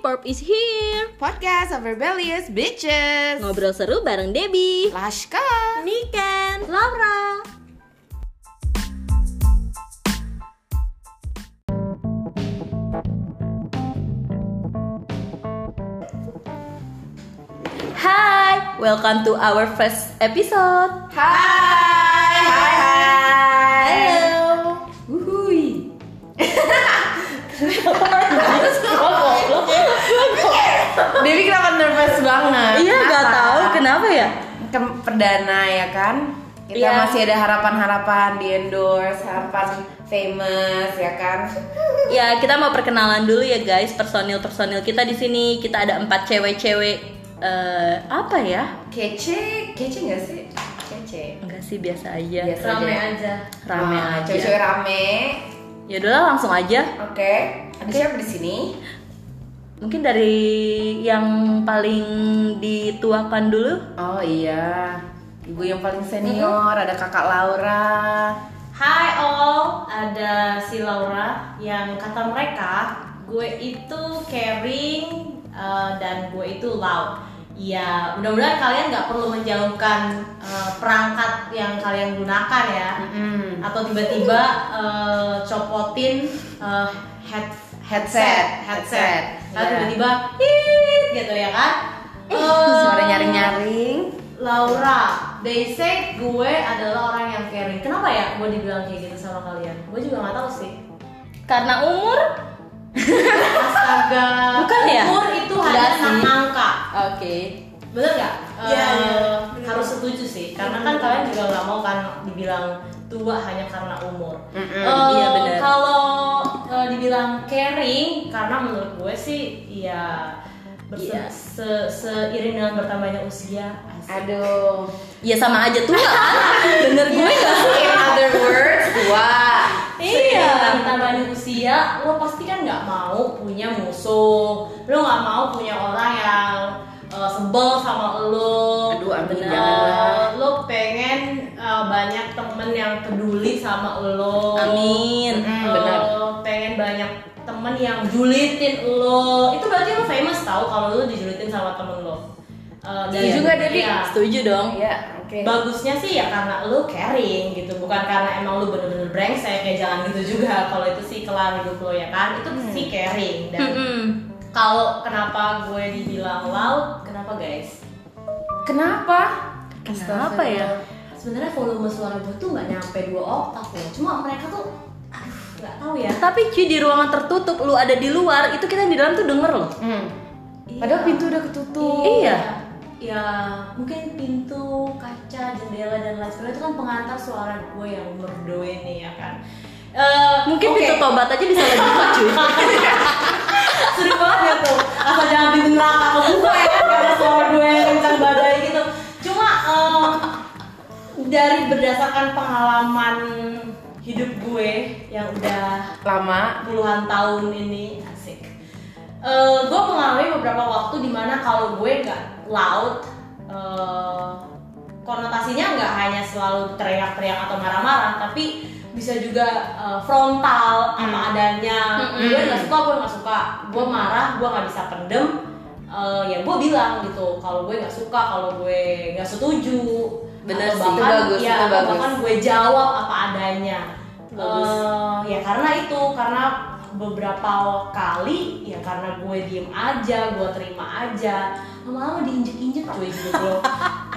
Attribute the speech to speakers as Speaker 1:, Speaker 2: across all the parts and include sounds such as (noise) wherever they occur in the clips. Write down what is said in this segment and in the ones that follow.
Speaker 1: Pop is here
Speaker 2: Podcast of Rebellious Bitches
Speaker 1: Ngobrol seru bareng Debbie
Speaker 2: Lashka
Speaker 1: Niken Laura Hai, welcome to our first episode
Speaker 2: Hai Hai Hai
Speaker 1: Hello Wuhui Goblok.
Speaker 2: Dewi kenapa nervous banget?
Speaker 1: Iya gak tahu kenapa ya
Speaker 2: Kem perdana ya kan? Kita
Speaker 1: Iya.
Speaker 2: masih ada harapan-harapan di endorse Harapan famous ya kan?
Speaker 1: Ya kita mau perkenalan dulu ya guys personil personil kita di sini kita ada empat cewek-cewek eh, apa ya
Speaker 2: Kece, kece gak sih? Kece
Speaker 1: Enggak sih biasa aja
Speaker 2: Biasa
Speaker 3: rame
Speaker 2: aja.
Speaker 3: aja.
Speaker 1: rame
Speaker 2: Ah,
Speaker 1: aja
Speaker 2: Cewek-cewek rame
Speaker 1: ya udahlah langsung aja
Speaker 2: Oke Ada siapa di sini?
Speaker 1: mungkin dari yang paling dituakan dulu
Speaker 2: Oh iya, ibu yang paling senior, ada kakak Laura.
Speaker 3: Hai all, ada si Laura yang kata mereka gue itu caring uh, dan gue itu loud. Ya, mudah-mudahan kalian nggak perlu menjauhkan uh, perangkat yang kalian gunakan ya,
Speaker 2: Mm-mm.
Speaker 3: atau tiba-tiba uh, copotin uh, head
Speaker 2: Headset, headset.
Speaker 3: headset,
Speaker 1: Ya.
Speaker 3: lalu
Speaker 2: Iya.
Speaker 3: tiba-tiba "Iit," gitu ya kan? Eh,
Speaker 2: Suara nyaring-nyaring.
Speaker 3: Laura, they say gue adalah orang yang caring. Kenapa ya gue dibilang kayak gitu sama kalian? Gue juga nggak tahu sih.
Speaker 1: karena umur
Speaker 3: Astaga,
Speaker 1: Bukan ya?
Speaker 3: umur itu hanya
Speaker 1: Enggak
Speaker 3: enam
Speaker 1: sih.
Speaker 3: angka.
Speaker 1: oke
Speaker 3: Bener nggak?
Speaker 2: Iya,
Speaker 3: Eh,
Speaker 2: iya.
Speaker 3: Harus setuju sih, karena kan kalian juga nggak mau kan dibilang tua hanya karena umur.
Speaker 2: Mm-mm,
Speaker 3: Eh,
Speaker 1: iya, bener.
Speaker 3: Kalau eh, dibilang caring, karena menurut gue sih, ya berse-
Speaker 1: Iya.
Speaker 3: se- seiring dengan bertambahnya usia. asik.
Speaker 2: Aduh.
Speaker 1: ya sama aja tua
Speaker 2: (laughs)
Speaker 1: kan bener gue gak sih?
Speaker 2: In other words, wah.
Speaker 3: Iya. Tambah usia, lo pasti kan nggak mau punya musuh. Lo nggak mau punya orang yang uh, sebel sama lo.
Speaker 2: Aduh, amin,
Speaker 3: Bener.
Speaker 2: janganlah.
Speaker 3: Lo pengen uh, banyak temen yang peduli sama lo.
Speaker 1: amin
Speaker 2: Mm,
Speaker 3: Uh,
Speaker 2: benar.
Speaker 3: pengen banyak temen yang julitin lo. Itu berarti lo famous tau kalau lo dijulitin sama temen lo. Uh, dan-
Speaker 1: Setuju
Speaker 2: nggak, Devi?
Speaker 3: Iya.
Speaker 1: setuju dong
Speaker 2: Iya, oke.
Speaker 3: Bagusnya sih ya karena lu caring gitu, bukan karena emang lu bener-bener brengsek kayak jangan gitu juga. (laughs) Kalau itu sih kelar hidup lo ya kan, itu
Speaker 2: Hmm.
Speaker 3: sih caring. Dan
Speaker 1: Mm-mm.
Speaker 3: kalau kenapa gue dibilang loud, kenapa guys?
Speaker 2: Kenapa?
Speaker 1: kenapa ya
Speaker 3: Sebenarnya volume suara gue tuh nggak nyampe dua oktav loh, cuma mereka tuh aduh nggak tahu
Speaker 2: Iya.
Speaker 3: ya.
Speaker 1: tapi cuy di ruangan tertutup lu ada di luar itu kita di dalam tuh denger loh
Speaker 2: Hmm.
Speaker 3: Iya.
Speaker 2: Padahal pintu udah ketutup.
Speaker 1: Iya.
Speaker 3: Ya mungkin pintu, kaca, jendela dan lain sebagainya itu kan pengantar suara gue yang merdu ini ya kan. Eh,
Speaker 1: mungkin
Speaker 3: oke.
Speaker 1: pintu tobat aja bisa lagi buka cuy
Speaker 3: seru banget ya tuh apa jangan pintu neraka ke gue ya gak ada suara gue yang kencang badai gitu cuma em, dari berdasarkan pengalaman hidup gue yang udah
Speaker 2: Lama.
Speaker 3: puluhan tahun ini asik Eh, gue mengalami beberapa waktu dimana kalau gue nggak loud eh, konotasinya nggak hanya selalu teriak-teriak atau marah-marah tapi bisa juga eh, frontal apa adanya gue nggak suka gue nggak suka gue marah gue nggak bisa pendem Eh, ya gue bilang gitu kalau gue nggak suka kalau gue nggak setuju
Speaker 1: Bener sih,
Speaker 3: Atau
Speaker 1: itu
Speaker 3: bahkan-
Speaker 2: bagus,
Speaker 3: ya,
Speaker 2: itu
Speaker 3: atau
Speaker 2: bagus.
Speaker 3: bahkan gue jawab apa adanya
Speaker 1: Bagus.
Speaker 3: Eh, ya karena itu karena beberapa kali ya karena gue diem aja gue terima aja lama-lama diinjek-injek cuy hidup lo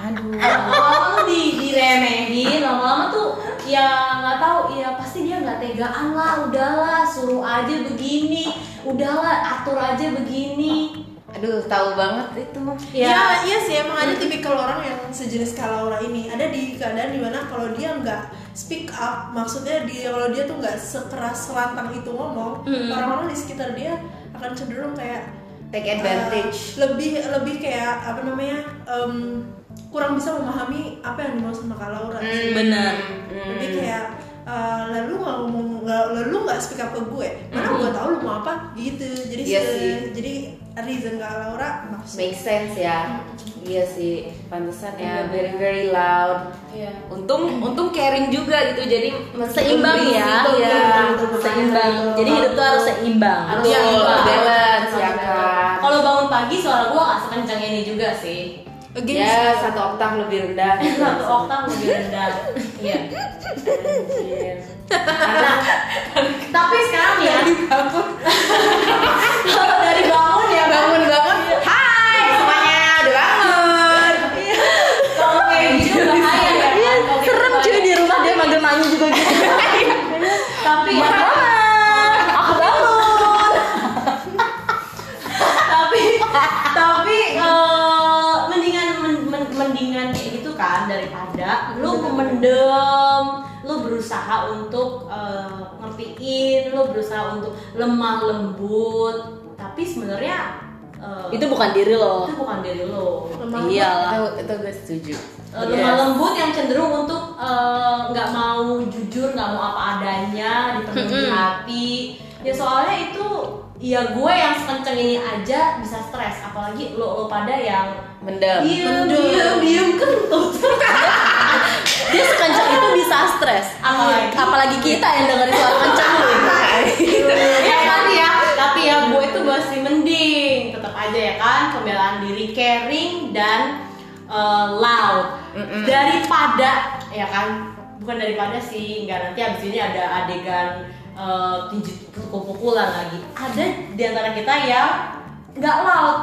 Speaker 2: Aduh.
Speaker 3: lama-lama tuh di, diremehin lama-lama tuh ya nggak tahu ya pasti dia nggak tegaan lah udahlah suruh aja begini udahlah atur aja begini
Speaker 2: Aduh, tahu banget itu.
Speaker 3: ya,
Speaker 4: Iya, iya sih emang ada tipikal orang yang sejenis Kak Laura ini. Ada di keadaan dimana kalau dia nggak speak up, maksudnya dia kalau dia tuh nggak sekeras selantang itu ngomong, orang-orang di sekitar dia akan cenderung kayak
Speaker 2: Take
Speaker 4: uh,
Speaker 2: advantage.
Speaker 4: lebih lebih kayak apa namanya um, kurang bisa memahami apa yang dimaksud sama Kak Laura. sih.
Speaker 2: Hmm,
Speaker 1: bener.
Speaker 2: hmm.
Speaker 4: Lebih kayak uh, lalu nggak ngomong nggak- lalu nggak speak up ke gue, mana gue tahu lu mau apa gitu. Jadi
Speaker 2: Iya
Speaker 4: se-
Speaker 2: sih.
Speaker 4: jadi reason Kak Laura maksud
Speaker 2: Make sense ya. Iya sih, pantesan ya. Very very loud.
Speaker 3: Iya.
Speaker 2: Untung untung caring juga gitu. Jadi
Speaker 1: seimbang ya
Speaker 2: Iya.
Speaker 1: seimbang jadi hidup tuh harus seimbang
Speaker 2: harus
Speaker 3: Iya,
Speaker 2: seimbang,
Speaker 3: iya.
Speaker 2: balance ya kan
Speaker 3: bangun pagi suara gue gak sekencang ini juga sih
Speaker 4: against
Speaker 2: Ya, satu oktav lebih rendah.
Speaker 3: satu oktav lebih rendah iya
Speaker 2: Anjir.
Speaker 3: Nah, tapi sekarang ya kalau dari bangun ya bangun
Speaker 2: Bangun-bangun, Iya. hai semuanya, udah bangun.
Speaker 3: kalau kayak gitu bahaya ya kan? Kalau kayak
Speaker 1: Serem
Speaker 3: gitu
Speaker 1: cuy di rumah dia manggil manyu juga gitu.
Speaker 3: tapi ya (laughs)
Speaker 1: Aku bangun.
Speaker 3: tapi tapi eh, mendingan men- men- mendingan kayak gitu kan daripada lu memendem lu berusaha untuk eh, ngertiin lu berusaha untuk lemah lembut tapi sebenarnya eh,
Speaker 1: Itu bukan diri lo.
Speaker 3: itu bukan diri lo
Speaker 4: Lemah
Speaker 1: Iyalah.
Speaker 2: Itu, itu gue setuju.
Speaker 3: Eh, lemah lembut yang cenderung untuk eh, nggak mau jujur nggak mau apa adanya dipenuhi hati ya soalnya itu ya gue yang sekenceng ini aja bisa stres apalagi lo lo pada yang
Speaker 1: Iya,
Speaker 2: Mendem.
Speaker 3: diem
Speaker 4: mendem.
Speaker 3: diem diem kentut
Speaker 1: Dia sekencang itu bisa stres.
Speaker 3: Apalagi-
Speaker 1: apalagi kita yang dengerin suara kencang lu.
Speaker 3: ya tapi ya tapi ya gue itu masih mending tetap aja ya kan pembelaan diri caring dan eh, loud daripada ya kan bukan daripada sih nggak nanti abis ini ada adegan eh, tinju pukul-pukulan lagi ada di antara kita yang nggak loud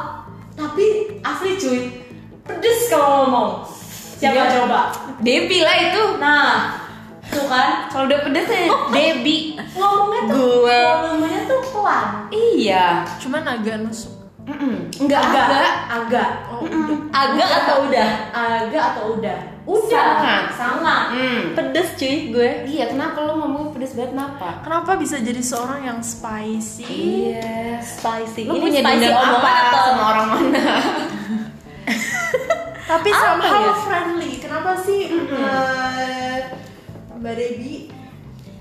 Speaker 3: tapi asli cuy pedes kalau ngomong siapa
Speaker 2: Iya.
Speaker 3: coba
Speaker 2: Debi lah itu.
Speaker 3: nah tuh kan
Speaker 2: Kalau udah pedes ya
Speaker 1: Oh.
Speaker 2: Debi.
Speaker 3: ngomongnya tuh
Speaker 2: Gue.
Speaker 3: volumenya tuh pelan
Speaker 2: Iya.
Speaker 4: Cuman agak nusuk.
Speaker 3: Enggak,
Speaker 2: Agak.
Speaker 3: agak, agak,
Speaker 4: Oh, udah.
Speaker 1: Agak atau udah?
Speaker 3: agak atau udah, udah,
Speaker 2: Sangat.
Speaker 3: sangat.
Speaker 2: Hmm.
Speaker 1: Pedes cuy gue.
Speaker 2: Iya, kenapa lo ngomong pedes banget kenapa?
Speaker 4: Kenapa bisa jadi seorang yang spicy?
Speaker 2: Iya.
Speaker 1: Spicy.
Speaker 2: Lu
Speaker 1: Ini
Speaker 2: punya
Speaker 1: spicy
Speaker 2: dendam apa
Speaker 1: omongan atau
Speaker 2: sama orang (laughs) mana?
Speaker 4: Tapi
Speaker 1: Apa
Speaker 4: somehow
Speaker 1: ya?
Speaker 4: friendly. Kenapa sih uh, Mbak Debbie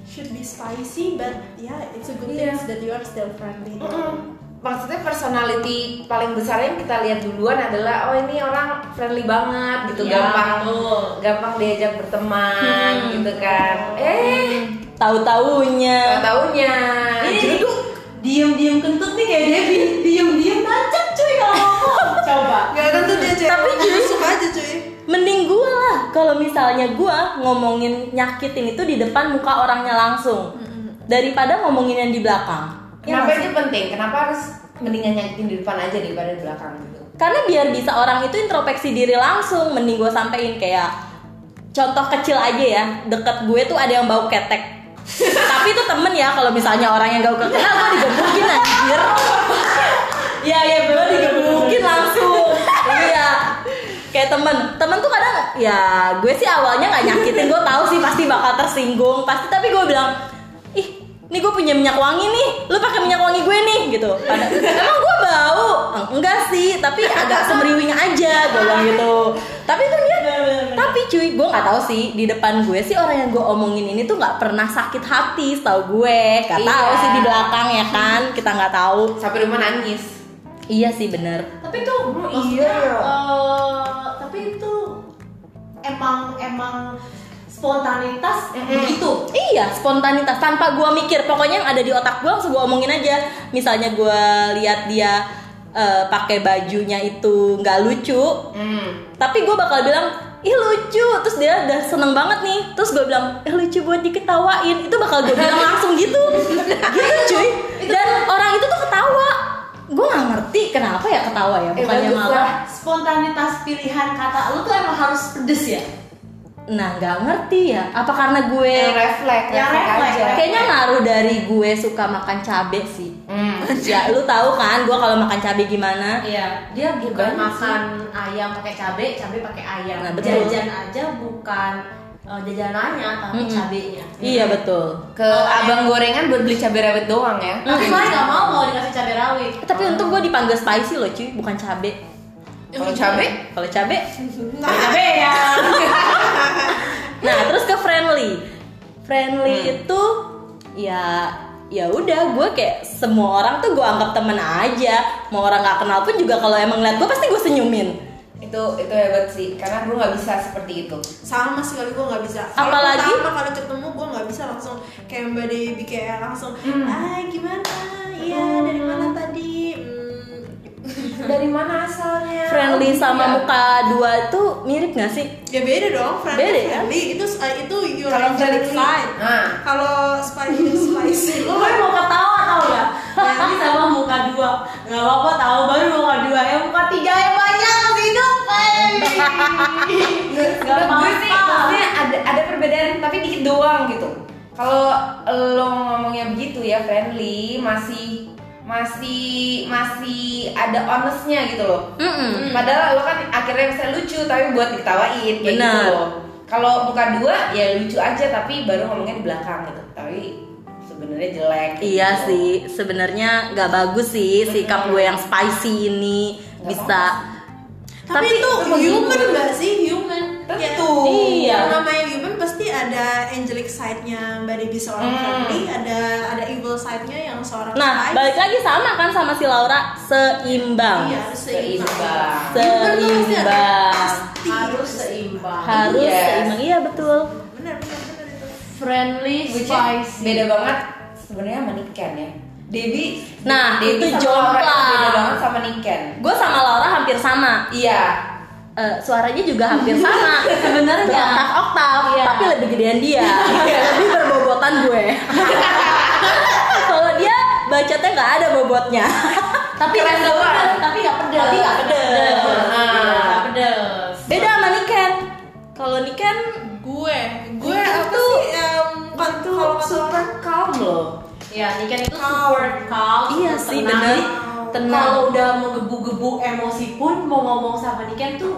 Speaker 4: should be spicy but yeah it's a good
Speaker 2: Iya.
Speaker 4: thing that you are still friendly.
Speaker 2: Mm-mm. Maksudnya personality paling besar yang kita lihat duluan adalah oh ini orang friendly banget gitu,
Speaker 3: Iya,
Speaker 2: gampang
Speaker 3: betul. Hmm.
Speaker 2: gampang diajak berteman gitu kan. Eh,
Speaker 1: Tahu-taunya.
Speaker 2: tahunnya
Speaker 3: Ini diem-diem kentut nih kayak Devi, diem-diem nancep cuy kalau ngomong. (laughs) Coba.
Speaker 4: Gak tentu dia cewek. Tapi nusuk aja cuy.
Speaker 1: Mending gue lah kalau misalnya gue ngomongin nyakitin itu di depan muka orangnya langsung daripada ngomongin yang di belakang. Iya
Speaker 2: Kenapa itu penting? Kenapa harus mendingan nyakitin di depan aja daripada di belakang gitu?
Speaker 1: Karena biar bisa orang itu introspeksi diri langsung, mending gue sampein kayak contoh kecil aja ya, deket gue tuh ada yang bau ketek. (laughs) Tapi itu temen ya kalau misalnya orang yang gak kenal gue digebukin anjir. Iya ya gue digebukin (laughs) langsung. Iya. Kayak temen, temen tuh kadang ya gue sih awalnya nggak nyakitin, gue tahu sih pasti bakal tersinggung, pasti tapi gue bilang ih ini gue punya minyak wangi nih, lu pakai minyak wangi gue nih gitu. Pada, Emang gue bau? "Eng- Enggak sih, tapi agak semeriwing aja gue bilang gitu. Tapi tuh dia, tapi cuy gue nggak tahu sih di depan gue sih orang yang gue omongin ini tuh nggak pernah sakit hati, tahu gue. Gak tahu
Speaker 2: Iya.
Speaker 1: sih di belakang ya kan, kita nggak tahu.
Speaker 2: Sampai rumah nangis.
Speaker 1: Iya sih bener.
Speaker 3: Tapi tuh, bro, Eh,
Speaker 2: Iya.
Speaker 3: tapi itu emang emang spontanitas
Speaker 2: Mm-mm.
Speaker 3: begitu.
Speaker 1: Iya, spontanitas tanpa gua mikir. Pokoknya yang ada di otak gua langsung gua omongin aja. Misalnya gua lihat dia eh, pakai bajunya itu nggak lucu,
Speaker 2: Hmm.
Speaker 1: tapi gue bakal bilang ih lucu terus dia udah seneng banget nih terus gue bilang eh lucu buat diketawain itu bakal gue bilang langsung gitu gitu cuy dan orang itu tuh ketawa gue nggak ngerti kenapa ya ketawa ya
Speaker 2: Eh,
Speaker 1: bukannya
Speaker 2: bagus
Speaker 1: malah
Speaker 2: lah.
Speaker 3: Spontanitas pilihan kata lu tuh emang harus pedes ya.
Speaker 1: nah nggak ngerti ya apa karena gue
Speaker 2: Yang Eh, refleks,
Speaker 3: Yang refleks,
Speaker 2: aja.
Speaker 1: kayaknya ngaruh dari gue suka makan cabe sih
Speaker 2: Hmm.
Speaker 1: ya lu tahu kan gue kalau makan cabe gimana
Speaker 3: Iya, dia bukan
Speaker 2: Banyak
Speaker 3: makan ayam pakai cabe, cabe pakai ayam.
Speaker 1: Nah, betul.
Speaker 3: Jajan aja bukan eh, jajanannya tapi
Speaker 1: Mm-mm.
Speaker 3: cabenya. Nah,
Speaker 1: iya
Speaker 4: Hmm.
Speaker 1: betul
Speaker 2: Ke abang gorengan buat beli cabai rawit doang ya.
Speaker 3: Tapi saya nggak mau kalau dikasih cabe rawit.
Speaker 1: Eh, tapi untuk gue dipanggil spicy loh cuy bukan cabe
Speaker 2: Kalau cabai
Speaker 1: kalau cabe
Speaker 4: Nah,
Speaker 3: cabe Iya. ya.
Speaker 2: (laughs)
Speaker 1: Nah, terus ke friendly. Friendly
Speaker 4: Hmm.
Speaker 1: itu ya ya udah gue kayak semua orang tuh gue anggap temen aja mau orang nggak kenal pun juga kalau emang ngeliat gue pasti gue senyumin
Speaker 2: itu itu hebat sih karena gue nggak bisa seperti itu
Speaker 4: sama sekali gue nggak bisa. Kalau
Speaker 1: Apalagi-
Speaker 4: pertama kali ketemu gue nggak bisa langsung kayak Mbak Debbie
Speaker 1: Mm.
Speaker 4: kayak langsung ah gimana? Iya dari mana tadi? Hmm,
Speaker 2: dari mana asalnya
Speaker 1: friendly
Speaker 2: Oh, gitu
Speaker 1: sama
Speaker 4: iya.
Speaker 2: ya.
Speaker 1: muka dua tuh mirip gak sih?
Speaker 4: ya beda dong friendly
Speaker 1: Beda ya?
Speaker 4: friendly itu uh, itu your
Speaker 2: Kalau
Speaker 4: angelic
Speaker 2: friendly.
Speaker 4: vibe
Speaker 2: Nah.
Speaker 4: kalau spicy itu spicy
Speaker 3: Gue mau ketawa tau gak? Nanti sama muka dua Gak apa-apa tau baru muka dua Ya muka tiga yang banyak masih hidup hey. Gak
Speaker 2: Menurut gue sih
Speaker 3: apa-apa
Speaker 2: maksudnya ada ada perbedaan tapi dikit doang gitu. Kalau lo ngomongnya begitu ya friendly masih masih masih ada honestnya gitu loh.
Speaker 1: Mm-mm.
Speaker 2: Padahal lo kan akhirnya bisa lucu tapi buat diketawain kayak
Speaker 1: Benar.
Speaker 2: gitu loh. Kalau muka dua ya lucu aja tapi baru ngomongnya di belakang gitu. Tapi sebenarnya jelek. gitu.
Speaker 1: Iya sih, sebenarnya nggak bagus sih sikap gue yang spicy ini
Speaker 2: Nggak
Speaker 1: bisa.
Speaker 4: (laughs) tapi, itu human gak sih human
Speaker 2: Tentu.
Speaker 1: gitu. Iya.
Speaker 4: yang namanya human pasti ada angelic side-nya mbak Debbie seorang
Speaker 2: Hmm.
Speaker 4: friendly ada ada evil side-nya yang seorang
Speaker 1: Nah,
Speaker 4: spicy.
Speaker 1: balik lagi sama kan sama si Laura seimbang.
Speaker 4: iya harus seimbang
Speaker 2: Seimbang.
Speaker 4: Human tuh harus ada.
Speaker 1: Seimbang.
Speaker 4: Pasti.
Speaker 3: Harus seimbang
Speaker 1: Harus
Speaker 2: Yes.
Speaker 1: seimbang. Iya betul.
Speaker 4: benar benar benar itu
Speaker 3: Friendly,
Speaker 2: Which is beda banget sebenarnya sama Niken ya. Debbie
Speaker 1: Nah,
Speaker 2: Debbie
Speaker 1: itu
Speaker 2: sama Laura itu
Speaker 1: jomplang.
Speaker 2: Beda banget sama Niken.
Speaker 1: Gue sama Laura hampir sama.
Speaker 2: Iya.
Speaker 1: Eh, suaranya juga hampir sama sebenarnya oktav oktav
Speaker 3: Iya.
Speaker 1: tapi lebih gedean dia Iya, lebih berbobotan gue kalau dia bacotnya nggak ada bobotnya
Speaker 3: Tapi
Speaker 2: Keren
Speaker 3: nggak
Speaker 2: doang.
Speaker 3: pedes, Tapi gak pedes
Speaker 1: Tapi nggak pedes.
Speaker 2: Ah.
Speaker 3: Gak pedes
Speaker 1: beda sama Niken kalau Niken
Speaker 4: gue gue apa sih em, kan kalau kata
Speaker 2: super
Speaker 4: orang
Speaker 2: calm loh.
Speaker 3: Ya Niken itu super calm
Speaker 1: iya
Speaker 3: super
Speaker 1: sih
Speaker 3: tenang.
Speaker 1: bener tenang
Speaker 3: Kalau udah mau gebu-gebu emosi pun mau ngomong sama Niken tuh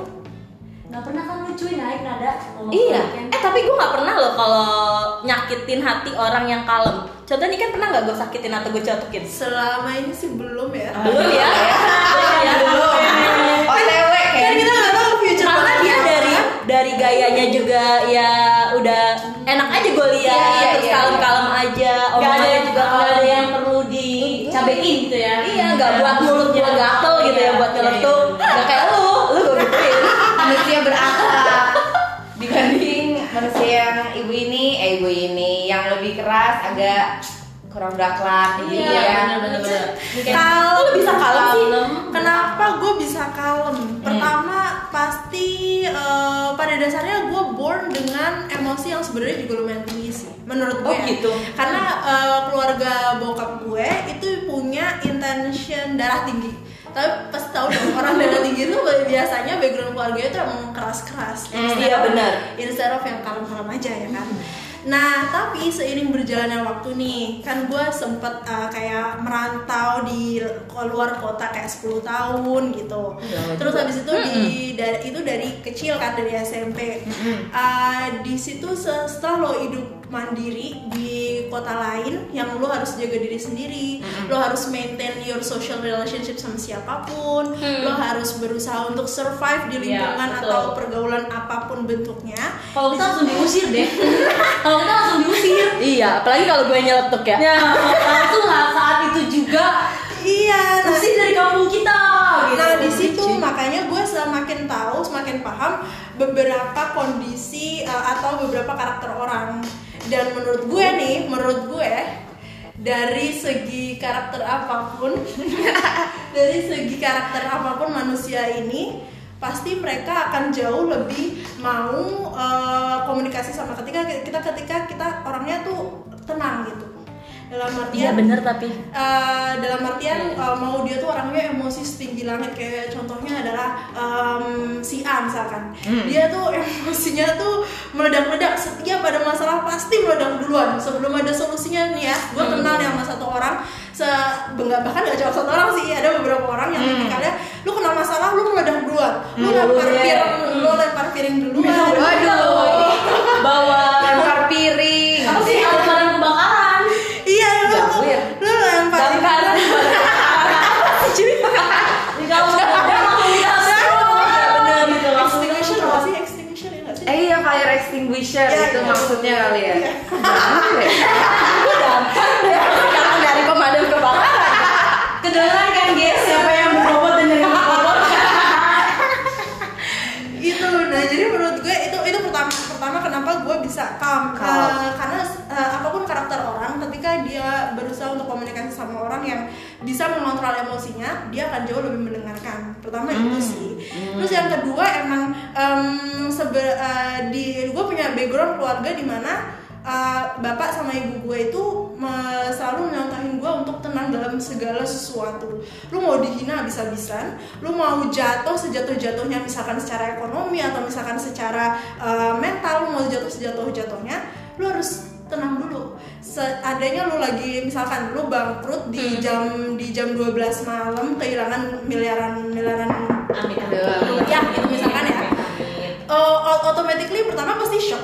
Speaker 3: nggak pernah kan lucu naik nada ngomong sama
Speaker 1: Iya.
Speaker 3: Oh, Niken.
Speaker 1: Eh tapi gue nggak pernah loh kalau nyakitin hati orang yang kalem. Contohnya Niken pernah nggak gue sakitin atau gue catukin?
Speaker 4: selama ini sih belum ya
Speaker 1: Belum ya. Belum ya.
Speaker 2: OTW
Speaker 4: kan
Speaker 2: kayak
Speaker 4: kita nggak tahu future
Speaker 1: Karena
Speaker 4: plan
Speaker 1: dia
Speaker 4: apa.
Speaker 1: dari dari gayanya juga ya udah enak aja gue lihat
Speaker 2: Iya, iya,
Speaker 1: terus
Speaker 2: iya,
Speaker 1: kalem-kalem aja.
Speaker 3: Gak ada
Speaker 1: Omongannya
Speaker 3: yang
Speaker 1: juga
Speaker 3: nggak ada
Speaker 1: kalem.
Speaker 3: yang perlu dicabein gitu ya.
Speaker 1: Iya, nggak buat mulut gue gatel gitu
Speaker 3: Iya,
Speaker 1: ya buat nyeletuk. Nggak kayak lu, lu gue gituin.
Speaker 2: manusia berakhlak dibanding manusia yang ibu ini, eh ibu ini yang lebih keras agak kurang berakhlak gitu
Speaker 3: Iya,
Speaker 2: ya.
Speaker 3: bener-bener. Niken
Speaker 4: kalau
Speaker 1: Lu bisa kalem Iya. sih.
Speaker 4: Kenapa gue bisa kalem? Pertama pasti eh, pada dasarnya gue born dengan emosi yang sebenarnya juga lumayan tinggi sih, menurut gue.
Speaker 1: Oh, gitu.
Speaker 4: Karena eh, keluarga bokap gue itu punya intention darah tinggi. Tapi pasti tau dong orang darah tinggi itu biasanya background keluarganya itu emang keras-keras.
Speaker 1: Hmm, iya, benar.
Speaker 4: Instead of yang kalem-kalem aja ya kan. Nah, tapi seiring berjalannya waktu nih, kan gue sempet uh, kayak merantau di luar kota kayak 10 tahun gitu.
Speaker 3: Iya,
Speaker 4: Terus habis itu di da- itu dari kecil kan dari SMP. Uh, di situ se- setelah lo hidup mandiri di kota lain yang lo harus jaga diri sendiri, lo harus maintain your social relationship sama siapapun, lo harus berusaha untuk survive di
Speaker 3: Hmm. Iya,
Speaker 4: lingkungan
Speaker 3: betul.
Speaker 4: atau pergaulan apapun bentuknya. Nah,
Speaker 3: Kalau kita langsung diusir deh. Kalau kita langsung diusir.
Speaker 1: Iya, apalagi kalau gue nyeletuk ya.
Speaker 3: Ya, langsung lah saat itu juga
Speaker 4: Iya, nah-
Speaker 3: usir dari kampung kita. Gitu.
Speaker 4: Nah di situ makanya gue semakin tahu, semakin paham beberapa kondisi uh, atau beberapa karakter orang. Dan menurut gue nih, menurut gue dari segi karakter apapun, (laughs) dari segi karakter apapun manusia ini pasti mereka akan jauh lebih mau uh, komunikasi sama ketika kita ketika kita orangnya tuh tenang gitu dalam
Speaker 1: Iya
Speaker 4: artian
Speaker 1: bener tapi
Speaker 4: Uh, dalam artian uh, mau dia tuh orangnya emosi setinggi langit kayak contohnya adalah um, si A misalkan
Speaker 2: Hmm.
Speaker 4: dia tuh emosinya tuh meledak-ledak setiap ada masalah pasti meledak duluan sebelum ada solusinya nih ya gue
Speaker 2: Hmm.
Speaker 4: kenal nih sama satu orang se bengga- bahkan gak cuma satu orang sih ada beberapa orang yang
Speaker 2: Hmm.
Speaker 4: tipikalnya lu kena masalah lu meledak duluan lu lempar
Speaker 2: iya.
Speaker 4: piring lu lempar piring duluan
Speaker 2: Waduh,
Speaker 3: bawa
Speaker 2: lempar piring.
Speaker 3: apa sih alat kebakaran?
Speaker 4: iya lu
Speaker 2: Gawir.
Speaker 4: lu lempar
Speaker 1: Bangkaran
Speaker 3: Di kampung kita
Speaker 1: (laughs)
Speaker 3: langsung diusir.
Speaker 4: Iya,
Speaker 3: Bener gitu langsung
Speaker 4: extinguisher gak sih extinguisher ya gak sih
Speaker 2: Eh iya fire extinguisher
Speaker 4: Iya,
Speaker 2: itu
Speaker 4: iya.
Speaker 2: maksudnya kali ya. Iya.
Speaker 4: Iya.
Speaker 2: Jangan deh. Iya.
Speaker 1: sekarang dari pemadam kebakaran.
Speaker 3: kedengeran kan guys siapa yang berbobot dan yang nggak berbobot?
Speaker 4: itu nah jadi menurut gue itu itu pertama pertama kenapa gue bisa calm
Speaker 2: Calm.
Speaker 4: Eh, karena eh, apapun karakter orang ketika dia berusaha untuk komunikasi sama orang yang bisa mengontrol emosinya dia akan jauh lebih mendengarkan pertama itu sih terus yang kedua emang em, sebe- eh, di gue punya background keluarga di mana eh, bapak sama ibu gue itu me- selalu menyontahin gue untuk tenang dalam segala sesuatu lu mau dihina habis-habisan lu mau jatuh sejatuh-jatuhnya misalkan secara ekonomi atau misalkan secara eh, mental lu mau jatuh sejatuh-jatuhnya lu harus tenang dulu seadanya lu lagi misalkan lu bangkrut di jam di jam 12 malam kehilangan miliaran miliaran
Speaker 3: Amit
Speaker 4: Aduh, ya, gitu misalkan ya. uh, au- automatically pertama pasti shock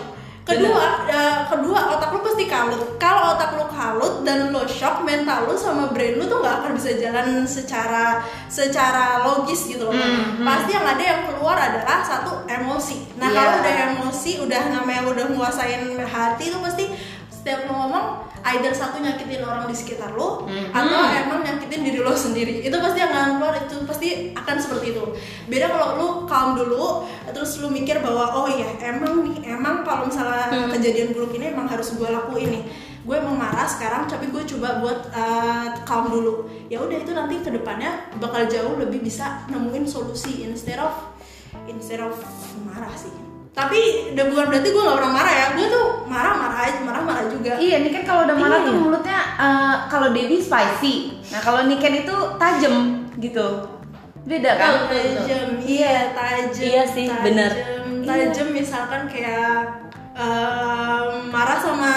Speaker 4: kedua uh, kedua otak lu pasti kalut kalau otak lu kalut dan lu shock mental lu sama brain lu tuh nggak akan bisa jalan secara secara logis gitu loh pasti yang ada yang keluar adalah satu emosi nah
Speaker 2: Iya.
Speaker 4: kalau udah emosi udah namanya udah nguasain hati itu pasti setiap lu ngomong either satu nyakitin orang di sekitar lu atau emang nyakitin diri lo sendiri itu pasti akan keluar itu pasti akan seperti itu beda kalau lu calm dulu terus lu mikir bahwa oh iya emang nih emang kalau misalnya kejadian buruk ini emang harus gue lakuin nih gue emang marah sekarang tapi gue coba buat eh, calm dulu ya udah itu nanti kedepannya bakal jauh lebih bisa nemuin solusi instead of instead of marah sih tapi udah bukan berarti gue gak pernah marah ya gue tuh marah marah aja marah marah juga
Speaker 2: Iya, Niken kalau udah marah
Speaker 1: Iya,
Speaker 2: tuh
Speaker 1: iya.
Speaker 2: mulutnya eh, kalau Debbie spicy. Nah, kalau Niken itu tajem gitu. Beda kan?
Speaker 4: tajam iya tajam
Speaker 1: Iya sih,
Speaker 4: tajam,
Speaker 1: bener.
Speaker 4: tajam misalkan kayak em, marah sama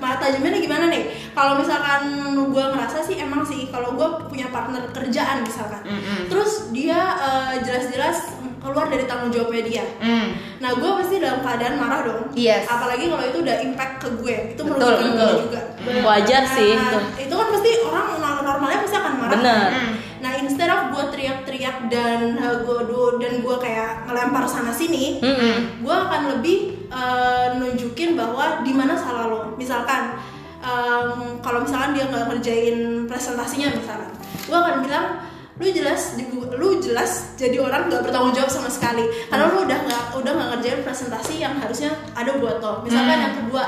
Speaker 4: marah tajamnya nih gimana nih kalau misalkan gue ngerasa sih emang sih kalau gue punya partner kerjaan misalkan
Speaker 2: Mm.
Speaker 4: terus dia eh, jelas-jelas keluar dari tanggung jawabnya dia
Speaker 2: Hmm.
Speaker 4: Nah, gue pasti dalam keadaan marah dong.
Speaker 2: Yes.
Speaker 4: Apalagi kalau itu udah impact ke gue, itu
Speaker 2: Betul,
Speaker 4: merugikan gue
Speaker 2: betul.
Speaker 4: juga.
Speaker 1: Wajar sih,
Speaker 4: Nah,
Speaker 1: betul.
Speaker 4: itu kan pasti orang nor- normalnya pasti akan marah.
Speaker 1: Bener.
Speaker 4: Hmm. Nah, instead of gue teriak-teriak dan uh, gue dan gue kayak ngelempar sana sini, gue akan lebih uh, nunjukin bahwa di mana salah lo. Misalkan um, kalau misalkan dia nggak ngerjain presentasinya misalkan, gue akan bilang lu jelas di- lu jelas jadi orang nggak bertanggung jawab sama sekali karena lu udah nggak udah nggak ngerjain presentasi yang harusnya ada buat lo misalkan
Speaker 2: Hmm.
Speaker 4: yang kedua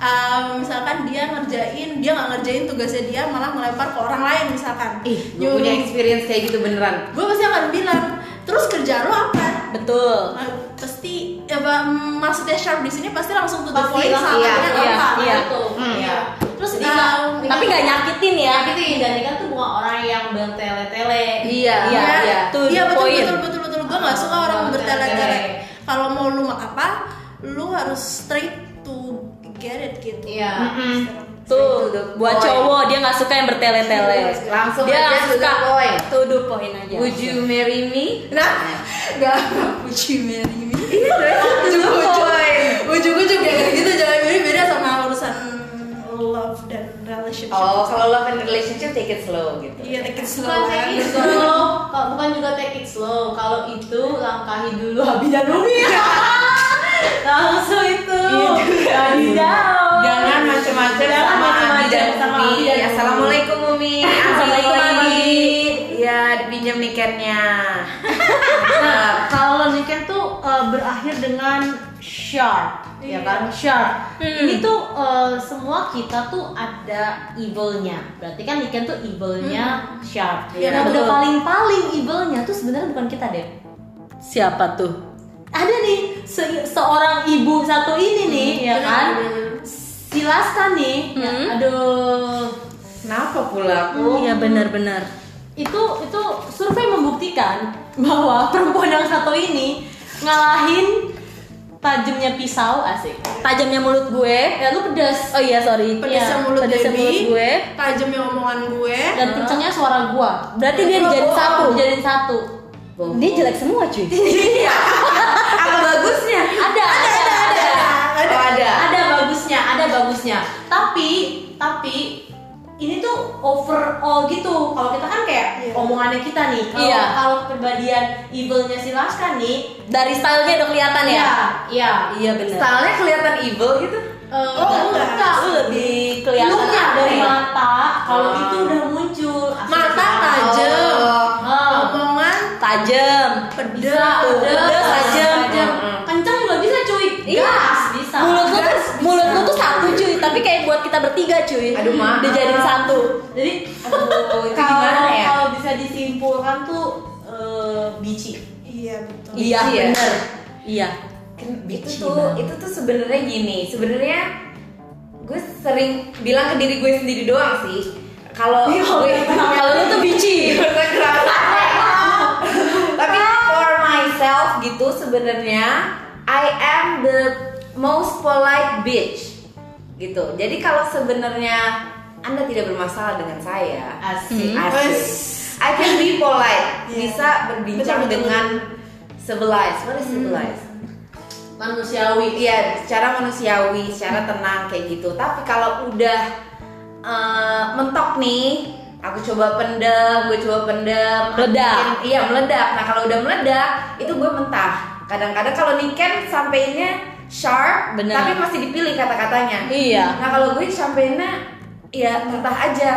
Speaker 4: um, misalkan dia ngerjain dia nggak ngerjain tugasnya dia malah melempar ke orang lain misalkan
Speaker 2: Ih, gue punya experience kayak gitu beneran.
Speaker 4: gue pasti akan bilang terus kerja lo apa
Speaker 1: Betul.
Speaker 4: Nah, pasti ya Bang, maksudnya sharp di sini pasti langsung to the
Speaker 3: Pasti
Speaker 4: point
Speaker 3: langsung,
Speaker 2: iya,
Speaker 4: salahnya apa.
Speaker 1: iya.
Speaker 3: Betul.
Speaker 2: Hmm.
Speaker 3: Iya. Terus
Speaker 4: Nah,
Speaker 3: Nika, Nika
Speaker 1: Tapi nggak nyakitin ya.
Speaker 3: nyakitin dan Nika tuh bukan orang yang bertele-tele.
Speaker 2: Iya,
Speaker 1: Iya,
Speaker 4: Iya,
Speaker 1: iya.
Speaker 4: iya.
Speaker 1: To the
Speaker 4: Iya, betul,
Speaker 1: point.
Speaker 4: betul, betul, betul. Gue nggak suka orang
Speaker 3: Oh,
Speaker 4: bertele-tele.
Speaker 3: bertele-tele.
Speaker 4: Kalau mau lu apa, lu harus straight to get it gitu.
Speaker 3: Iya.
Speaker 2: Mm.
Speaker 1: Tuh,
Speaker 2: To the
Speaker 1: buat
Speaker 2: point.
Speaker 1: cowok dia nggak suka yang bertele-tele.
Speaker 2: Langsung
Speaker 1: dia
Speaker 2: aja
Speaker 1: nggak
Speaker 2: to the
Speaker 1: suka
Speaker 2: point.
Speaker 1: to the point aja.
Speaker 2: Would you marry me? Nah, (laughs) Iya,
Speaker 4: Gak would you marry me?
Speaker 2: Ujung point.
Speaker 4: Ujung-ujung kayak gitu jangan beda-beda sama urusan love dan relationship.
Speaker 2: Oh, kalau love and relationship take it slow gitu.
Speaker 4: Iya, take it slow.
Speaker 3: Bukan take
Speaker 2: kan?
Speaker 3: it slow, kalau- bukan juga take it slow. Kalau itu langkahi dulu habis dan
Speaker 2: (laughs)
Speaker 3: Umi. Langsung itu. Habis daun.
Speaker 2: Iya Jangan macam-macam
Speaker 3: Jangan
Speaker 2: sama Abi
Speaker 3: macam-macam
Speaker 2: dan
Speaker 3: sama
Speaker 2: Umi. Iya, Ya,
Speaker 3: Abi dan Umi.
Speaker 2: Assalamualaikum Umi.
Speaker 3: Assalamualaikum, Abi.
Speaker 2: Iya, dipinjam (laughs) nikernya.
Speaker 3: Nah, kalau Niken tuh uh, berakhir dengan sharp,
Speaker 1: Iya.
Speaker 3: ya kan? Sharp.
Speaker 1: Hmm.
Speaker 3: Ini tuh uh, semua kita tuh ada evilnya. Berarti kan Niken tuh evilnya sharp.
Speaker 4: Iya,
Speaker 3: nah,
Speaker 1: Hmm. betul.
Speaker 3: udah paling-paling evilnya tuh sebenarnya bukan kita deh.
Speaker 1: Siapa tuh?
Speaker 3: Ada nih se- seorang ibu satu ini nih, ya kan? Silaskan nih. ya,
Speaker 1: Hmm.
Speaker 3: aduh.
Speaker 2: Kenapa pula aku?
Speaker 1: Iya benar-benar.
Speaker 3: itu itu survei membuktikan bahwa perempuan yang satu ini ngalahin tajamnya pisau asik
Speaker 1: Tajamnya mulut gue.
Speaker 3: ya lu pedas
Speaker 1: Oh iya sorry. Iya,
Speaker 4: Pedesnya mulut
Speaker 1: pedesnya
Speaker 4: Debbie.
Speaker 1: mulut gue.
Speaker 4: Tajamnya omongan gue.
Speaker 3: dan kencengnya suara gua
Speaker 1: Berarti dia dijadiin satu.
Speaker 3: dijadiin satu
Speaker 2: Bohong.
Speaker 1: Dia jelek semua cuy.
Speaker 2: Apa bagusnya?
Speaker 3: ada ada ada ada
Speaker 2: Ada. Oh, ada.
Speaker 3: ada bagusnya ada bagusnya tapi tapi ini tuh overall gitu kalau kita kan kayak
Speaker 4: Iya.
Speaker 3: omongannya kita nih kalau
Speaker 1: Iya.
Speaker 3: kalau kepribadian evilnya si Laska nih
Speaker 1: (laughs) Dari stylenya udah kelihatan ya.
Speaker 3: iya
Speaker 1: Iya benar.
Speaker 2: Stylenya kelihatan evil gitu.
Speaker 4: Oh, enggak.
Speaker 1: Lu lebih kelihatan
Speaker 3: kelihatan dari
Speaker 1: aneh.
Speaker 3: mata kalau
Speaker 2: Ah.
Speaker 3: itu udah muncul asli
Speaker 4: Mata
Speaker 3: kita.
Speaker 4: tajam.
Speaker 3: Ah.
Speaker 4: Omongan
Speaker 1: Tajam.
Speaker 4: pedes.
Speaker 3: Bisa, pedes,
Speaker 1: pedes, tajam.
Speaker 3: tajam.
Speaker 2: Mm-mm.
Speaker 3: kencang juga bisa cuy
Speaker 1: Iya.
Speaker 3: gas bisa
Speaker 1: Mulut lu tuh mulut lu tuh satu cuy, tapi kayak buat kita bertiga cuy.
Speaker 2: Aduh, maaf.
Speaker 1: Dijadiin satu.
Speaker 3: Jadi
Speaker 2: Aduh, itu
Speaker 3: kalau
Speaker 2: gimana ya?
Speaker 3: kalau bisa disimpulkan tuh eh, bici.
Speaker 4: Iya betul.
Speaker 1: Iya,
Speaker 2: Iya.
Speaker 1: bener. Iya.
Speaker 2: Ken- itu
Speaker 1: Bitchy
Speaker 2: tuh
Speaker 1: banget.
Speaker 2: itu tuh sebenarnya gini sebenarnya gue sering bilang ke diri gue sendiri doang sih kalau
Speaker 3: Iya,
Speaker 2: gue
Speaker 3: kenapa?
Speaker 1: Kalau lu tuh
Speaker 2: (laughs)
Speaker 1: bici.
Speaker 2: Gue kerasa. tapi for myself gitu sebenarnya I am the most polite bitch gitu jadi kalau sebenarnya anda tidak bermasalah dengan saya
Speaker 3: Asik.
Speaker 2: Asik. I can be polite,
Speaker 4: Iya.
Speaker 2: bisa berbincang
Speaker 4: Betul, betul,
Speaker 2: dengan civilized. What is civilized?
Speaker 3: Manusiawi.
Speaker 2: Iya, secara manusiawi, secara tenang kayak gitu. Tapi kalau udah eh, mentok nih, aku coba pendem, gue coba pendem.
Speaker 1: Meledak.
Speaker 2: Mungkin- Iya, meledak. Nah, kalau udah meledak, itu gue mentah. Kadang-kadang kalau niken sampeinnya sharp,
Speaker 1: Bener.
Speaker 2: tapi masih dipilih kata-katanya.
Speaker 1: Iya.
Speaker 2: Nah, kalau gue sampeinnya ya mentah aja.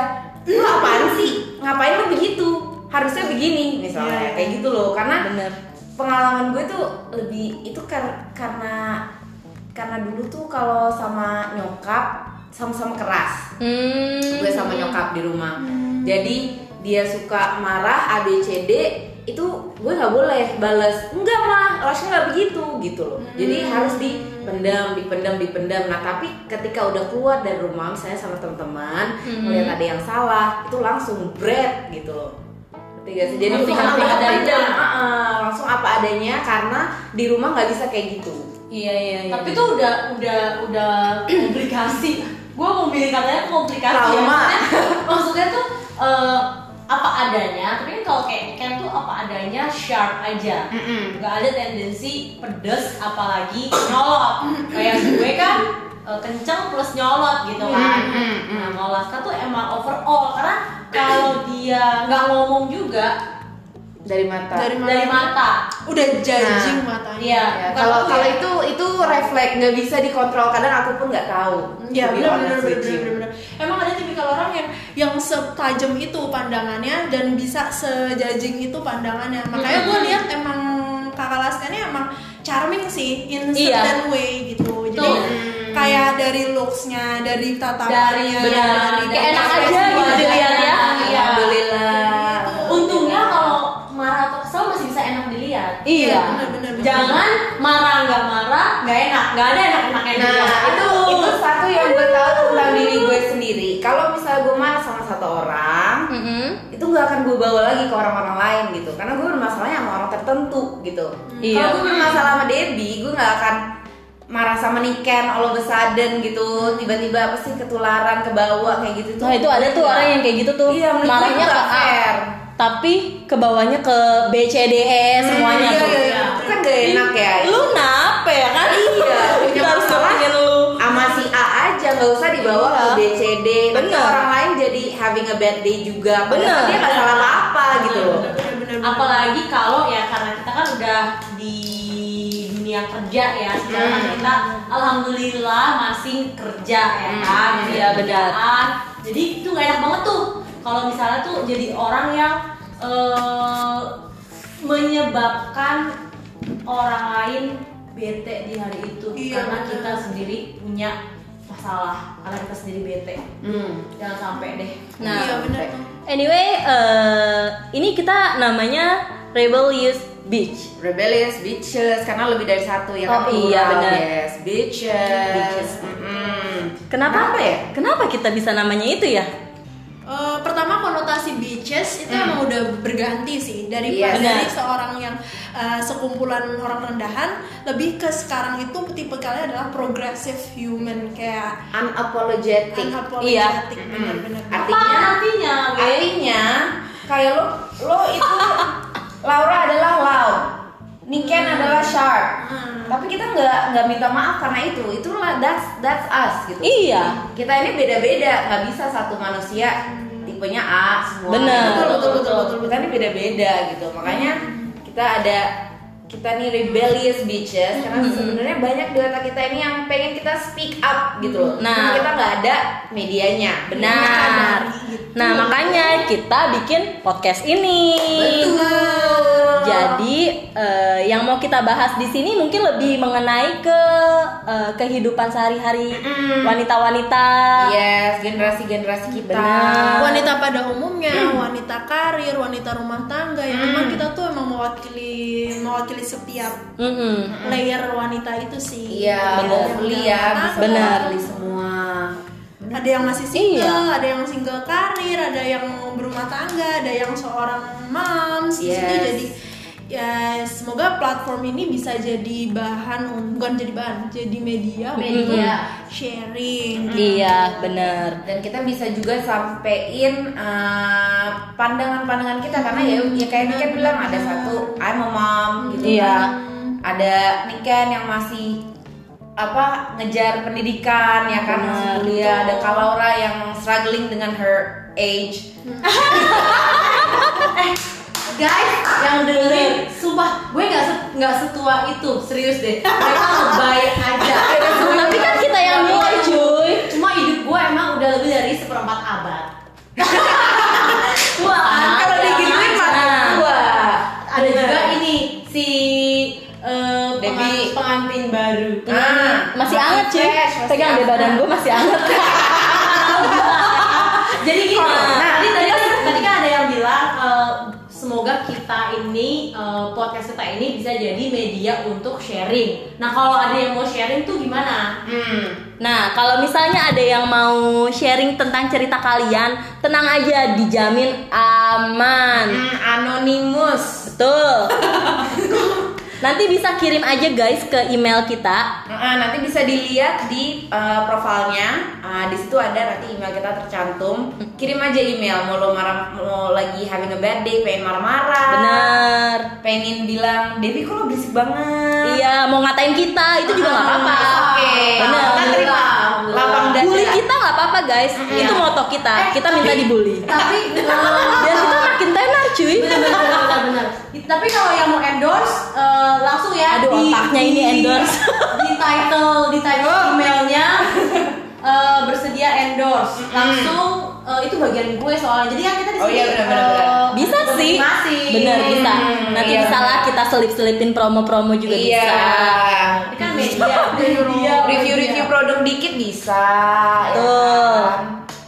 Speaker 2: Lu apaan sih? Ngapain lu begitu? Harusnya begini misalnya
Speaker 4: Iya.
Speaker 2: kayak gitu loh. Karena
Speaker 1: Bener.
Speaker 2: pengalaman gue tuh lebih itu kar- karena karena dulu tuh kalau sama nyokap sama-sama keras
Speaker 1: Hmm.
Speaker 2: gue sama nyokap di rumah
Speaker 3: Hmm.
Speaker 2: jadi dia suka marah ABCD itu gue nggak boleh bales enggak mah harusnya nggak begitu gitu loh jadi
Speaker 3: Hmm.
Speaker 2: harus dipendam dipendam dipendam nah tapi ketika udah keluar dari rumah misalnya sama teman-teman
Speaker 3: Hmm.
Speaker 2: melihat ada yang salah itu langsung bread gitu loh Ngerti gak sih? jadi
Speaker 3: Langsung
Speaker 2: ketika
Speaker 3: apa
Speaker 2: ketika dari
Speaker 3: adanya.
Speaker 2: Heeh, langsung apa adanya karena di rumah nggak bisa kayak gitu
Speaker 1: Iya iya iya.
Speaker 3: Tapi tuh udah udah udah komplikasi. Gue mau pilih katanya komplikasi. ya.
Speaker 2: Trauma.
Speaker 3: Maksudnya, maksudnya tuh eh, apa adanya. Tapi kan kalau kayak ikan tuh apa adanya sharp aja.
Speaker 2: Mm-mm.
Speaker 3: Gak ada tendensi pedes apalagi nyolot. Kayak gue kan eh, kenceng plus nyolot gitu kan.
Speaker 2: Mm-mm.
Speaker 3: Nah, kalau Laska tuh emang overall karena kalau dia nggak ngomong juga
Speaker 2: dari mata
Speaker 4: Dari mata.
Speaker 3: dari mata.
Speaker 4: Udah judging matanya.
Speaker 3: Iya.
Speaker 2: Ya,
Speaker 3: bukan
Speaker 2: kalau
Speaker 3: tuh
Speaker 2: kalau
Speaker 3: ya.
Speaker 2: itu itu refleks nggak bisa dikontrol kadang aku pun nggak tahu.
Speaker 4: Iya
Speaker 2: To be
Speaker 4: benar benar
Speaker 2: honest
Speaker 4: benar
Speaker 2: with you.
Speaker 4: benar, benar. Emang ada tipikal orang yang yang setajam itu pandangannya dan bisa sejajing itu pandangannya. Makanya gue lihat emang kakak Laska ini emang charming sih in
Speaker 1: Iya.
Speaker 4: certain way gitu. Jadi
Speaker 3: Hmm.
Speaker 1: Betul.
Speaker 4: kayak dari looksnya, dari
Speaker 3: dari
Speaker 4: tatapannya,
Speaker 3: benar kayak
Speaker 1: dari
Speaker 3: enak
Speaker 1: ekspresi
Speaker 3: aja gitu
Speaker 1: wajahnya.
Speaker 4: ya.
Speaker 3: dilihatnya
Speaker 1: Iya.
Speaker 2: Alhamdulillah.
Speaker 3: untungnya kalau marah atau kesel masih bisa enak dilihat
Speaker 1: Iya.
Speaker 4: benar benar.
Speaker 3: jangan marah nggak marah nggak enak nggak ada enak enaknya
Speaker 2: Nah
Speaker 3: gitu.
Speaker 2: itu itu satu yang gue tahu tentang diri gue sendiri. Kalau misalnya gue marah sama satu orang,
Speaker 1: Mm-mm.
Speaker 2: itu nggak akan gue bawa lagi ke orang-orang lain gitu. Karena gue bermasalahnya sama orang tertentu gitu.
Speaker 1: Iya.
Speaker 2: Kalau gue bermasalah sama Debbie, gue nggak akan marah sama Niken all of a sudden gitu tiba-tiba pasti ketularan ke bawah kayak gitu
Speaker 1: Nah itu ada tuh
Speaker 2: Iya.
Speaker 1: orang yang kayak gitu tuh
Speaker 2: Iya, menurut
Speaker 1: marahnya
Speaker 2: gue
Speaker 1: ke
Speaker 2: nggak
Speaker 1: A,
Speaker 2: fair.
Speaker 1: tapi ke bawahnya ke B C D E semuanya
Speaker 2: iya,
Speaker 1: tuh.
Speaker 2: iya, iya. Itu kan gak enak ya
Speaker 1: Lu nape ya kan?
Speaker 2: Iya, punya
Speaker 1: (laughs) Kita harus
Speaker 2: masalah.
Speaker 1: ngomongin lu.
Speaker 2: sama si A aja nggak usah dibawa
Speaker 1: Iya.
Speaker 2: ke BCD Nanti
Speaker 1: Bener.
Speaker 2: orang lain jadi having a bad day juga
Speaker 1: Bener.
Speaker 2: Padahal dia nggak salah apa apa gitu loh
Speaker 4: benar benar. benar.
Speaker 3: apalagi kalau ya karena kita kan udah di dunia kerja ya sekarang
Speaker 2: Hmm.
Speaker 3: kita alhamdulillah masih kerja ya
Speaker 2: Hmm.
Speaker 3: kan
Speaker 1: Iya, benar.
Speaker 3: kerjaan. jadi itu gak enak banget tuh kalau misalnya tuh jadi orang yang eh, menyebabkan orang lain bete di hari itu
Speaker 4: Iya,
Speaker 3: karena
Speaker 4: benar.
Speaker 3: kita sendiri punya masalah karena kita sendiri bete
Speaker 2: hmm.
Speaker 3: jangan sampai deh
Speaker 1: Nah,
Speaker 4: iya benar tuh.
Speaker 1: anyway, eh, ini kita namanya Rebel Youth Beach.
Speaker 2: Rebellious bitches karena lebih dari satu ya
Speaker 1: Oh,
Speaker 2: kan
Speaker 1: iya,
Speaker 2: plural.
Speaker 1: bener.
Speaker 2: Yes, bitches.
Speaker 1: Bitches.
Speaker 2: Mm-mm.
Speaker 1: Kenapa?
Speaker 2: Kenapa ya?
Speaker 1: Kenapa kita bisa namanya itu ya?
Speaker 4: Eh, pertama konotasi bitches itu emang udah berganti sih dari
Speaker 2: Hmm. Iya.
Speaker 4: dari
Speaker 1: Benar.
Speaker 4: seorang yang eh, sekumpulan orang rendahan lebly ke sekarang itu tipikalnya adalah progressive human kayak
Speaker 2: Unapologetic.
Speaker 4: unapologetic
Speaker 2: Iya.
Speaker 4: benar-benar
Speaker 2: Mm-mm.
Speaker 3: apa
Speaker 2: Artinya-
Speaker 3: artinya Wei?
Speaker 2: Artinya kayak lo lo itu
Speaker 1: (laughs)
Speaker 2: Laura adalah loud, Niken adalah sharp.
Speaker 4: Hmm.
Speaker 2: Tapi kita nggak nggak minta maaf karena itu. Itulah that's that's us gitu.
Speaker 1: Iya.
Speaker 2: Kita ini beda-beda, nggak bisa satu manusia tipenya A semua.
Speaker 1: Bener.
Speaker 2: Betul betul betul betul. Kita ini beda-beda gitu. Makanya kita ada kita nih rebellious bitches karena
Speaker 1: Hmm.
Speaker 2: sebenarnya banyak di otak kita ini yang pengen kita speak up gitu loh.
Speaker 1: Nah.
Speaker 2: Cuma kita nggak ada medianya. Gitu.
Speaker 1: Benar. Nah, makanya kita bikin podcast ini.
Speaker 2: Betul.
Speaker 1: Jadi eh, yang mau kita bahas di sini mungkin lebih mengenai ke eh, kehidupan sehari-hari wanita-wanita.
Speaker 2: Yes, generasi-generasi kita. Hmm.
Speaker 1: Benar.
Speaker 4: wanita pada umumnya, wanita karir, wanita rumah tangga
Speaker 2: Hmm.
Speaker 4: yang memang kita tuh emang mewakili mewakili setiap
Speaker 1: Mm-mm.
Speaker 4: layer wanita itu
Speaker 2: Hmm.
Speaker 4: sih.
Speaker 2: Iya,
Speaker 4: Ada
Speaker 2: mau
Speaker 4: yang
Speaker 2: beli
Speaker 4: udah
Speaker 2: ya,
Speaker 4: rumah
Speaker 2: bisa
Speaker 4: tangga,
Speaker 1: Benar.
Speaker 2: beli semua.
Speaker 4: Ada yang masih single,
Speaker 1: Iya.
Speaker 4: ada yang single karir, ada yang berumah tangga, ada yang seorang moms. Di situ
Speaker 2: Yes.
Speaker 4: jadi ya semoga platform ini bisa jadi bahan un- bukan jadi bahan, jadi media, untuk
Speaker 3: Media.
Speaker 4: sharing.
Speaker 1: Iya, benar.
Speaker 2: Dan kita bisa juga sampein eh, pandangan-pandangan kita karena ya, ya kayak Niken bilang ada satu I'm a mom gitu
Speaker 1: Iya.
Speaker 2: ya. Ada Niken yang masih apa ngejar pendidikan ya kan masih
Speaker 1: Benar.
Speaker 2: kuliah ada Kalaura yang struggling dengan her age
Speaker 3: guys yang dengerin sumpah gue nggak se- nggak setua itu serius deh mereka ngebayar aja
Speaker 1: Tapi kan kita yang mulai, cuy.
Speaker 3: cuma hidup gue emang udah lebih dari seperempat abad Wah,
Speaker 2: kalau digituin mah
Speaker 1: Nah.
Speaker 2: tua
Speaker 3: ada juga ini si eh, pengan-
Speaker 2: Debbie.
Speaker 3: pengantin baru
Speaker 2: ah
Speaker 1: Iya. Masih anget, cuy.
Speaker 2: fresh, masih
Speaker 1: Pegang deh
Speaker 2: anget.
Speaker 1: badan gue masih anget. (laughs)
Speaker 3: jadi gini
Speaker 2: Nah,
Speaker 3: tadi tadi kan, tadi kan ada yang bilang eh, semoga kita ini eh, podcast kita ini bisa jadi media untuk sharing nah kalau ada yang mau sharing tuh gimana
Speaker 2: Hmm.
Speaker 1: Nah, kalau misalnya ada yang mau sharing tentang cerita kalian, tenang aja, dijamin aman.
Speaker 2: Hmm, anonimus.
Speaker 1: Betul. Nanti bisa kirim aja guys ke email kita.
Speaker 2: Eh, nanti bisa dilihat di eh, profilnya. Eh, di situ ada nanti email kita tercantum. Kirim aja email. Mau lo marah, mau lagi having a bad day, pengen marah-marah.
Speaker 1: Bener.
Speaker 2: Pengen bilang, Debbie kok lo berisik banget.
Speaker 1: Iya, mau ngatain kita itu juga nggak apa-apa.
Speaker 2: Oke.
Speaker 1: Benar.
Speaker 2: Kita terima. Lapang dada.
Speaker 1: Bully kita nggak apa-apa guys.
Speaker 2: Iya.
Speaker 1: Itu moto kita.
Speaker 2: Eh,
Speaker 1: Kita minta dibully.
Speaker 3: Nah, tapi Nah.
Speaker 1: Biar kita makin tenar cuy.
Speaker 3: benar-benar tapi kalau yang mau endorse eh, langsung ya
Speaker 1: Aduh, otaknya ini endorse.
Speaker 3: di title di title emailnya eh, bersedia endorse langsung eh, itu bagian gue soalnya jadi kan kita di
Speaker 2: Oh,
Speaker 3: sini
Speaker 2: iya, benar, benar,
Speaker 3: eh,
Speaker 2: benar.
Speaker 1: Bisa sih.
Speaker 3: masing-masing.
Speaker 1: Bener bisa. Nanti
Speaker 2: iya.
Speaker 1: bisa lah kita selip-selipin promo-promo juga
Speaker 2: Iya.
Speaker 1: bisa.
Speaker 3: Ini kan media media
Speaker 2: Review-review produk dikit bisa. ya
Speaker 1: Betul.
Speaker 2: kan?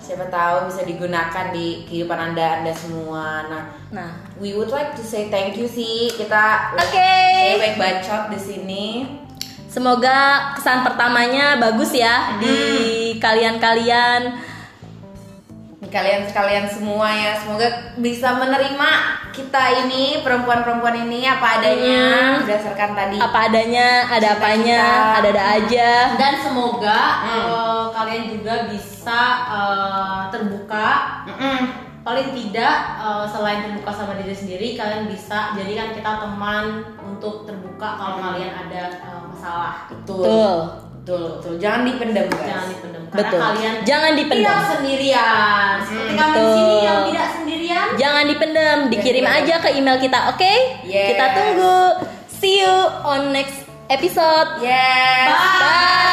Speaker 2: Siapa tahu bisa digunakan di kehidupan anda anda semua. Nah,
Speaker 1: Nah,
Speaker 2: We would like to say thank you sih kita
Speaker 1: oke.
Speaker 2: cewek bacot di sini.
Speaker 1: Semoga kesan pertamanya bagus ya di
Speaker 2: Hmm.
Speaker 1: kalian-kalian.
Speaker 2: Kalian sekalian semua ya semoga bisa menerima kita ini perempuan-perempuan ini apa adanya
Speaker 1: Hmm.
Speaker 2: berdasarkan tadi.
Speaker 1: Apa adanya, ada apanya,
Speaker 2: Cita-cita.
Speaker 1: ada-ada aja.
Speaker 3: dan semoga
Speaker 2: Hmm.
Speaker 3: eh, kalian juga bisa eh, terbuka
Speaker 2: Mm-mm.
Speaker 3: paling tidak eh, selain terbuka sama diri sendiri kalian bisa jadikan kita teman untuk terbuka kalau kalian ada eh,
Speaker 2: Hmm.
Speaker 3: masalah
Speaker 2: Betul.
Speaker 1: Betul.
Speaker 2: Betul. betul. Jangan dipendam guys.
Speaker 3: jangan dipendam karena
Speaker 1: Betul.
Speaker 3: kalian
Speaker 1: Jangan dipendam.
Speaker 2: Iya,
Speaker 3: tidak sendirian seperti
Speaker 2: Hmm,
Speaker 3: kami di sini
Speaker 1: betul.
Speaker 3: yang tidak sendirian
Speaker 1: Jangan dipendem, dikirim
Speaker 2: Jangan
Speaker 1: aja ke email kita, oke?
Speaker 2: Yes.
Speaker 1: Kita tunggu. See you on next episode.
Speaker 2: Yes.
Speaker 1: Bye.